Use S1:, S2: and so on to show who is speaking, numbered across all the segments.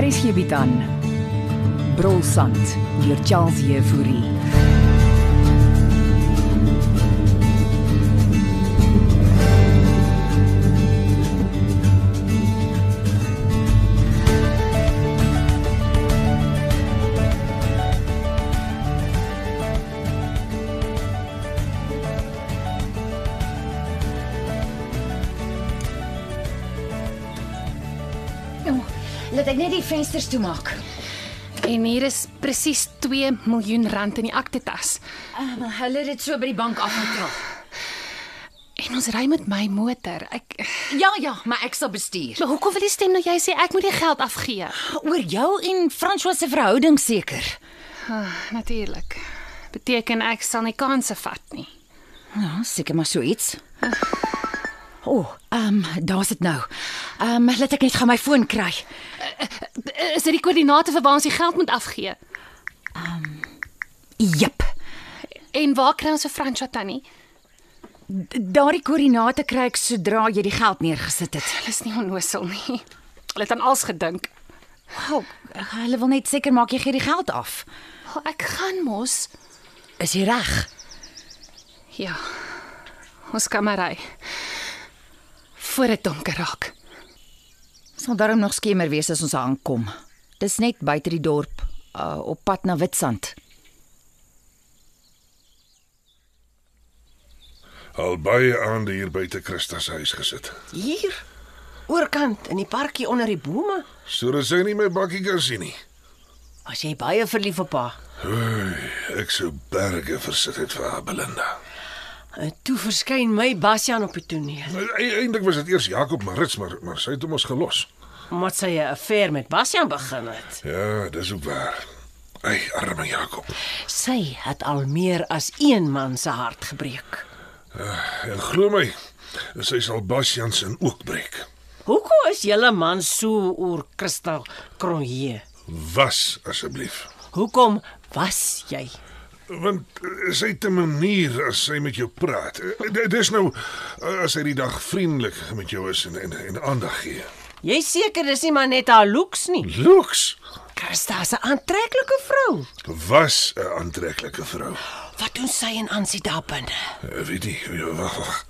S1: Hier is hierby dan. Brolsand deur Charles Jefouri.
S2: Oh, laat ek net die vensters toemaak.
S3: En hier is presies 2 miljoen rand in die aktetas. Ah,
S2: Um, hulle het dit so by die bank afgetrap.
S3: En ons ry met my motor. Ek
S2: Ja, ja, maar ek sal bestuur.
S3: Maar hoekom wil die stem nou jy sê ek moet die geld afgee?
S2: Oor jou en François se verhouding seker.
S3: Ah, natuurlik. Beteken ek sal nie kanse vat nie.
S2: Ja, seker maar so iets. O, oh, ehm um, daar's dit nou. Ehm um, laat ek net gaan my foon kry.
S3: Eh, Is dit die koördinate vir waar ons die geld moet afgee?
S2: Jep.
S3: En waar kry ons vir Franswa tannie?
S2: D- Daardie koördinate kry ek sodra jy die geld neergesit het.
S3: Hulle is nie onnosel nie. Hulle het aan alles gedink.
S2: Wow, hulle wil net seker maak jy gee die geld af.
S3: Wel, ek gaan mos.
S2: Is jy reg?
S3: Ja. Ons kan maar ry. Voor dit donker raak.
S2: Sal daarom nog skemer wees as ons aankom. Dis net buite die dorp, uh, op pad na Witstrand.
S4: Al baie aande hier buite Christus se huis gesit.
S5: Hier. Oorkant in die parkie onder die bome.
S4: So dat sy nie my bakkie kan sien nie.
S5: Was jy baie verlief op haar?
S4: Ek sou berge versit het vir haar Belinda.
S5: En toe verskyn my Basjan op die toneel.
S4: Eindelik was dit eers Jakob Marits, maar maar sy het hom ons gelos.
S5: Omdat sy 'n affair met Basjan begin het.
S4: Ja, dis ook waar. Ai, arme Jakob.
S5: Sy het al meer as een man se hart gebreek.
S4: En glo my, sy sal Basjan se ook breek.
S5: Hoekom is julle man so oor Christel Kronje?
S4: Was asseblief.
S5: Hoekom was jy?
S4: Want eh, sy het 'n manier as sy met jou praat. Eh, Dit is nou eh, as sy die dag vriendelik met jou is en en, en aandag gee.
S5: Jy seker dis nie maar net haar looks nie.
S4: Looks
S5: Christel is 'n aantreklike vrou.
S4: was 'n aantreklike vrou.
S5: Wat doen sy en Ansie daar binne?
S4: Eh, Weet nie, ja, wag. wag.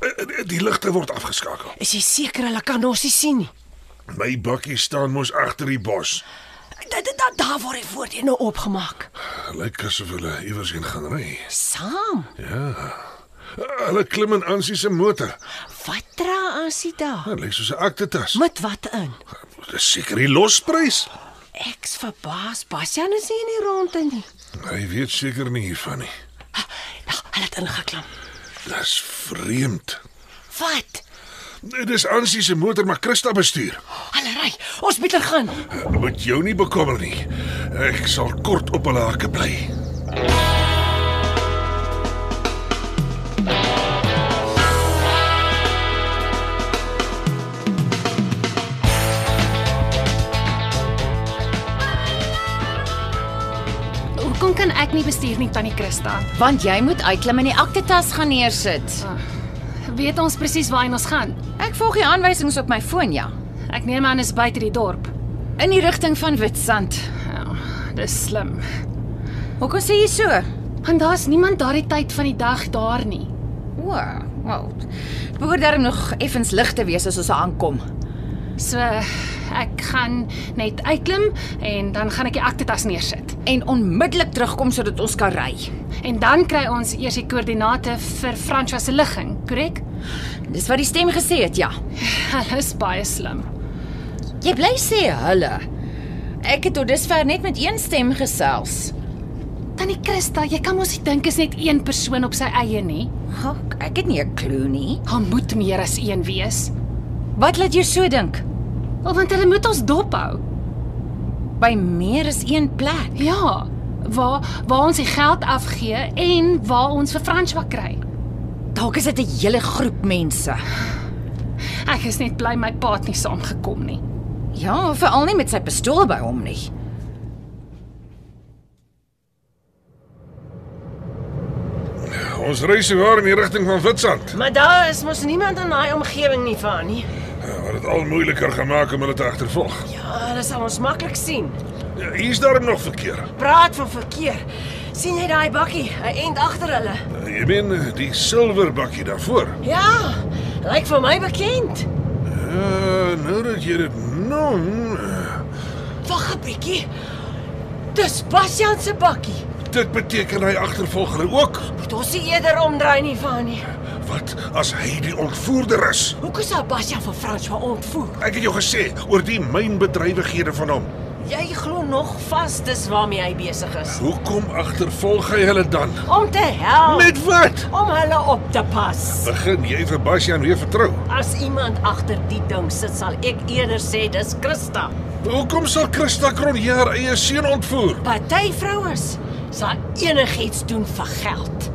S4: Eh, eh, Die ligte word afgeskakel.
S5: Is jy seker hulle kan ons nie sien nie?
S4: My bakkie staan mos agter die bos.
S5: Dit dit daar word die voordeur nou opgemaak.
S4: Lyk asof hulle iewers heen gaan ry.
S5: Saam.
S4: Eh, Hulle klim in Ansie se motor.
S5: Wat dra Ansie daar?
S4: Dit lyk soos 'n aktetas.
S5: Met wat in?
S4: Dis seker die losprys.
S5: Ek's verbaas. Basjan is nie in die ronde nie.
S4: Hy weet seker nie hiervan nie.
S5: Ha, Ja, hulle het ingeklim.
S4: Dis vreemd.
S5: Wat?
S4: Dit is Ansie se motor maar Christa bestuur.
S5: Hulle ry. Ons moet er gaan.
S4: Moet jou nie bekommer nie. Ek sal kort op hulle hake bly.
S3: Hoekom kan ek nie bestuur nie tannie Christa?
S2: Want jy moet uitklim en die aktetas gaan neersit.
S3: Weet ons presies waarheen ons gaan?
S2: Ek volg die aanwysings op my foon, ja.
S3: Ek neem aan is buite die dorp.
S2: In die rigting van Witstrand.
S3: Ja, dis slim.
S2: Hoekom sê jy so?
S3: Want daar's niemand daardie tyd van die dag daar nie.
S2: O, wel. Dit behoort darm nog effens lig te wees as ons aankom.
S3: So ek gaan net uitklim en dan gaan ek die aktetas neersit.
S2: En onmiddellik terugkom sodat ons kan ry.
S3: En dan kry ons eers die koördinate vir François se ligging, korrek?
S2: Dis wat die stem gesê het, ja.
S3: Hulle is baie slim.
S2: Jy bly sê hulle. Ek het tot dusver net met een stem gesels.
S3: Tannie Christa, jy kan mos nie dink is net een persoon op sy eie nie.
S2: Gok, ek het nie 'n klou nie.
S3: Daar moet meer as een wees.
S2: Wat laat jou so dink?
S3: Al want hulle moet ons dop hou.
S2: By meer as een plek.
S3: Ja, waar waar ons die geld afgee en waar ons vir François kry.
S2: Dalk is dit 'n hele groep mense.
S3: Ek is net bly my pa het nie saamgekom nie.
S2: Ja, veral nie met sy pistool by hom nie.
S4: Ons ry sewaar in die rigting van Witstrand.
S5: Maar daar is mos niemand in daai omgewing nie van nie.
S4: Eh, Wat dit al moeiliker gemaak om hulle te agtervolg.
S5: Ja, dit sal ons maklik sien.
S4: Ja, Hier's daarom nog verkeer.
S5: Praat van verkeer. sien jy daai bakkie? Hy end agter hulle.
S4: Eh, Jy meen die silwer bakkie daarvoor.
S5: Ja, lyk vir my bekend.
S4: Uh, nou dat jy dit noem, eh,
S5: Wag 'n bietjie. Dis Bastian se bakkie.
S4: dit beteken hy agtervolg hulle ook.
S5: Moet ons nie eerder omdraai nie van nie.
S4: Wat as hy die ontvoerder is?
S5: Hoekom sou Bastian vir François ontvoer?
S4: Ek het jou gesê oor die mynbedrywighede van hom.
S5: Jy glo nog vas dis waarmee hy besig is.
S4: Hoekom agtervolg hy hulle dan?
S5: Om te help.
S4: Met wat?
S5: om hulle op te pas.
S4: Begin jy vir Bastian weer vertrou?
S5: As iemand agter die ding sit, sal ek eerder sê dis Christa.
S4: Hoekom sal Christa Cronje haar eie seun ontvoer?
S5: Party vrouens sal enigiets doen vir geld.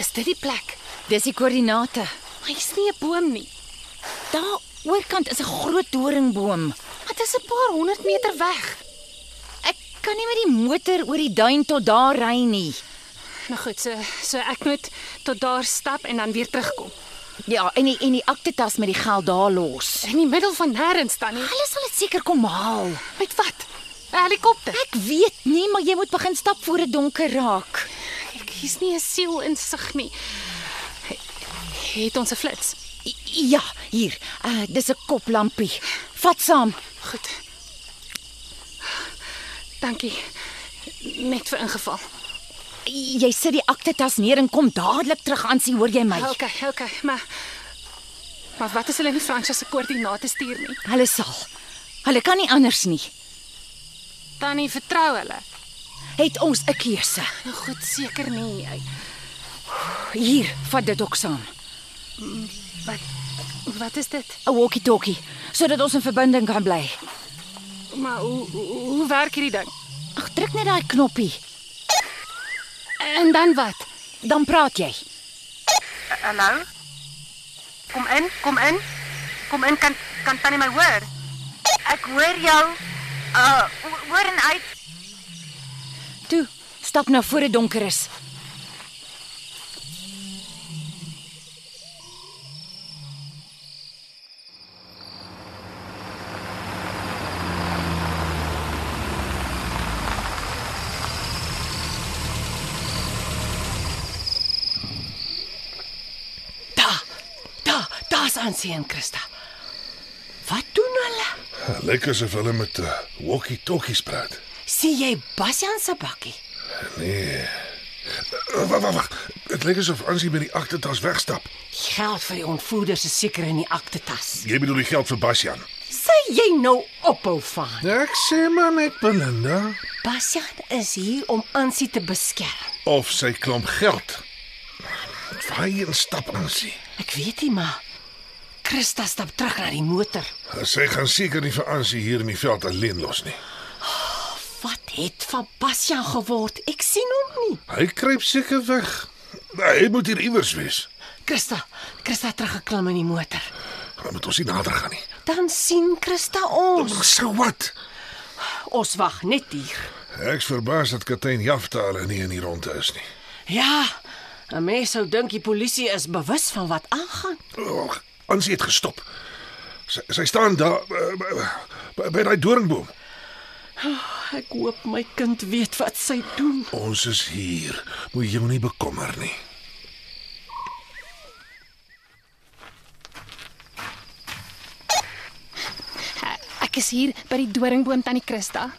S3: Is dit die plek?
S2: Dis die koördinate.
S3: Hy's nie 'n boom nie.
S2: Daar oorkant is 'n groot doringboom.
S3: Dit is 'n paar 100 meter weg.
S2: Ek kan nie met die motor oor die duin tot daar ry nie.
S3: Nou goed, so so ek moet tot daar stap en dan weer terugkom.
S2: Ja, en die en die aktetas met die geld daar los.
S3: In die middel van nêrens dan nie.
S2: Hulle sal dit seker kom haal.
S3: Met wat? 'n Helikopter.
S2: Ek weet nie, maar jy moet begin stap voor dit donker raak.
S3: Ek hier's nie 'n siel in sig nie. Het ons 'n flits.
S2: I- Ja, hier. Uh, dis 'n koplampie. Vat saam.
S3: Goed. Dankie. Net vir ingeval.
S2: Jy sit die aktetas neer en kom dadelik terug aan sien, hoor jy my?
S3: Okay, okay, maar maar wat as hulle nie Fransja se koördinate stuur nie?
S2: Hulle sal. Hulle kan nie anders nie.
S3: Dan nie vertrou hulle.
S2: Het ons 'n keuse.
S3: Nou goed, seker nie. Ek-
S2: Hier, vat dit ook saam.
S3: Wat wat is dit?
S2: 'n Walkie-talkie sodat ons in verbinding kan bly.
S3: Maar hoe hoe, hoe werk hierdie ding?
S2: Ag, druk net daai knoppie,
S3: En dan wat?
S2: dan praat jy.
S6: Hallo? Kom in, kom in. Kom in, kan kan tannie my hoor? Ek hoor jou. Uh ho- hoor en uit.
S2: Toe, stap nou voor dit donker is.
S5: Da. Da, daar's Ansie en Christa. Wat doen hulle?
S4: Lyk asof hulle met uh, walkie-talkies praat.
S5: Sien jy Bastian se bakkie?
S4: Nee. Wag, wag, wag. Dit lyk asof Ansie met die agtertas wegstap.
S5: Die Geld vir die ontvoerders is seker in die aktetas.
S4: Jy bedoel die geld vir Bastian.
S5: Sê jy nou ophou van.
S4: Ek sê maar net Belinda
S5: Bastian is hier om Ansie te beskerm.
S4: of sy klomp geld. Waarheen stap Ansie?
S5: Ek weet nie maar Christa stap terug na die motor.
S4: Sy gaan seker nie vir Ansie hier in die veld alleen los nie.
S5: Wat het van Bastian geword? Ek sien hom nie.
S4: Hy kruip seker weg. Hy moet hier iewers wees.
S5: Christa, Christa het teruggeklim in die motor.
S4: Dan moet ons nie nader gaan nie.
S5: Dan sien Christa ons.
S4: Oh, So wat?
S5: Ons wag net hier.
S4: Ek's verbaas dat kaptein Jafta hulle nie in die ronde is nie.
S5: Ja. 'n Mens sou dink die polisie is bewus van wat aangaan.
S4: Oh, Ansie het gestop. Sy, sy staan daar eh, by, by daai doringboom.
S5: Ah, Ek hoop my kind weet wat sy doen.
S4: Ons is hier. Moet jou nie bekommer nie.
S3: Ek is hier by die doringboom tannie Christa.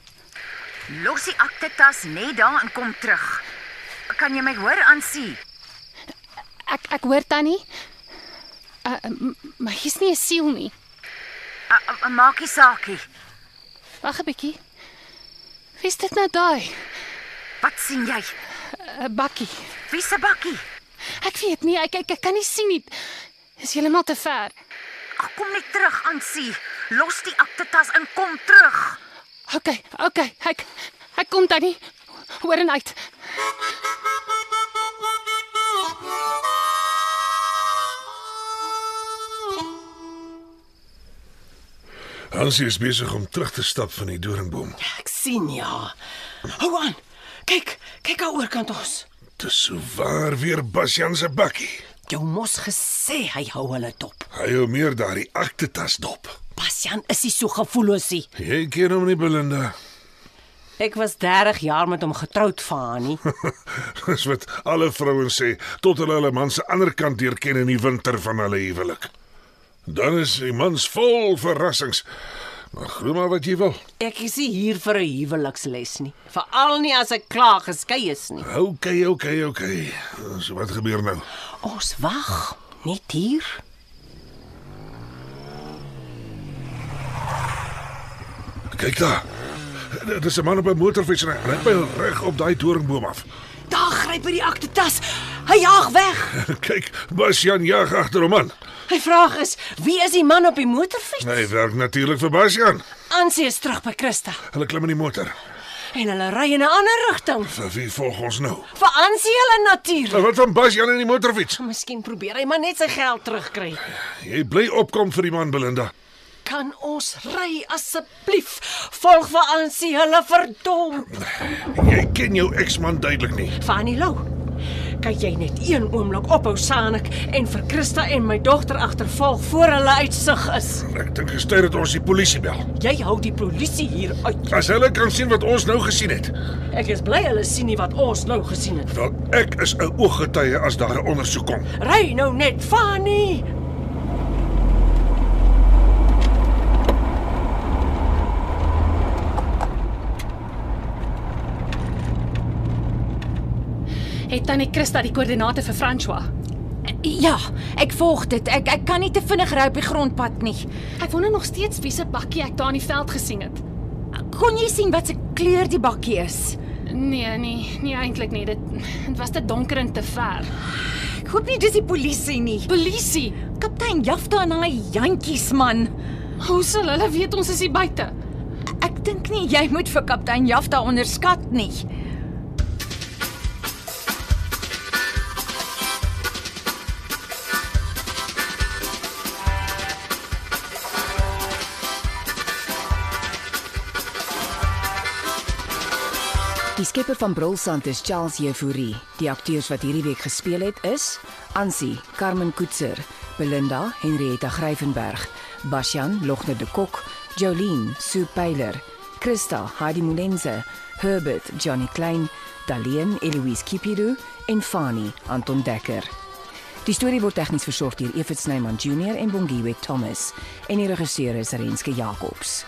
S6: Los die aktetas net daar en kom terug. Kan jy my hoor, Ansie?
S3: Ek ek hoor tannie. Uh, m- maar hier's nie 'n siel nie.
S6: Uh, uh, maak nie saakie.
S3: Wag 'n bietjie. Wie's dit nou daai?
S2: Wat sien jy?
S3: 'n Uh, Bakkie.
S2: Wie se bakkie?
S3: Ek weet nie, ek ek, ek kan nie sien nie. Is heeltemal te ver.
S2: Ag, Kom net terug, Ansie. Los die aktetas en kom terug.
S3: OK, OK, ek ek kom tannie. Hoor en uit.
S4: Hansie is besig om terug te stap van die doringboom.
S5: Ek sien ja. Hou aan. Kyk, kyk daar oorkant ons.
S4: Dis so waar weer Basjan se bakkie.
S5: Jou mos gesê hy hou hulle dop.
S4: Hy hou meer daardie aktetas dop.
S5: Bastian is nie so gevoellosie.
S4: Jy ken hom nie, Belinda.
S5: Ek was 30 jaar met hom getroud, Fani.
S4: Dis wat alle vrouens sê tot hulle hulle man se ander kant deur ken in die winter van hulle huwelik. Dan is die mans vol verrassings. Maar glo maar wat jy wil.
S5: Ek is nie hier vir 'n huweliksles nie, veral nie as ek klaar geskei is nie.
S4: Okay, okay, okay. So wat gebeur nou?
S5: Ons wag net hier.
S4: Kyk daar. D- Dis 'n man op 'n motorfiets en hy ry by reg op daai doringboom af.
S5: Daar gryp hy die aktetas. Hy jaag weg.
S4: Kyk, Basjan jag agter hom aan.
S5: Hy vraag is, wie is die man op die motorfiets?
S4: Hy werk natuurlik vir Basjan.
S5: Ansie is terug by Christa
S4: Hulle klim in die motor.
S5: en hulle ry in 'n ander rigting.
S4: Vir wie volg ons nou?
S5: Vir Ansie hulle natuurlik.
S4: Nou, Wat van Basjan en die motorfiets?
S5: Miskien probeer hy maar net sy geld terugkry.
S4: Jy bly opkom vir die man, Belinda.
S5: Kan ons ry asseblief? Volg vir Ansie, hulle verdom.
S4: Jy ken jou eksman duidelik nie.
S5: Fanny Lou. Kan jy net een oomblik ophou Sanik en vir Christa en my dogter agtervolg voor hulle uitsig is?
S4: Ek dink gestuur het ons die polisie bel.
S5: Jy hou die polisie hier uit.
S4: As hulle kan sien wat ons nou gesien het.
S5: Ek is bly hulle sien nie wat ons nou gesien het.
S4: Wel, ek is 'n ooggetuie as daar 'n ondersoek kom.
S5: Ry nou net, Fanny.
S3: Het tannie Christa die koördinate vir François?
S2: Ja, ek volg dit. Ek ek kan nie te vinnig ry op die grondpad nie.
S3: Ek wonder nog steeds wie se bakkie ek daar in die veld gesien het.
S2: Kon jy sien wat se kleur die bakkie is?
S3: Nee, nee, nie eintlik nie. Dit dit was te donker en te ver.
S2: Ek hoop nie dis die polisie nie.
S3: Polisie,
S2: Kaptein Jafta en hy jantjies man.
S3: hoe sal hulle weet ons is hier buite?
S2: Ek dink nie jy moet vir kaptein Jafta onderskat nie.
S1: Die skepper van Brulsand is Charles Jefouri. Die akteurs wat hierdie week gespeel het is: Ansie, Carmen Koetser, Belinda, Henrietta Gryvenberg, Bashan, Logner de Kok, Jolene, Sue Pyler, Christa, Heidi Molense, Herbert, Johnny Klein, Daleen, Eloise Kipidu en Fani, Anton Dekker. Die storie word tegnies versorg deur Evit Snyman Junior en Bongwe Thomas en die regisseur is Renske Jacobs.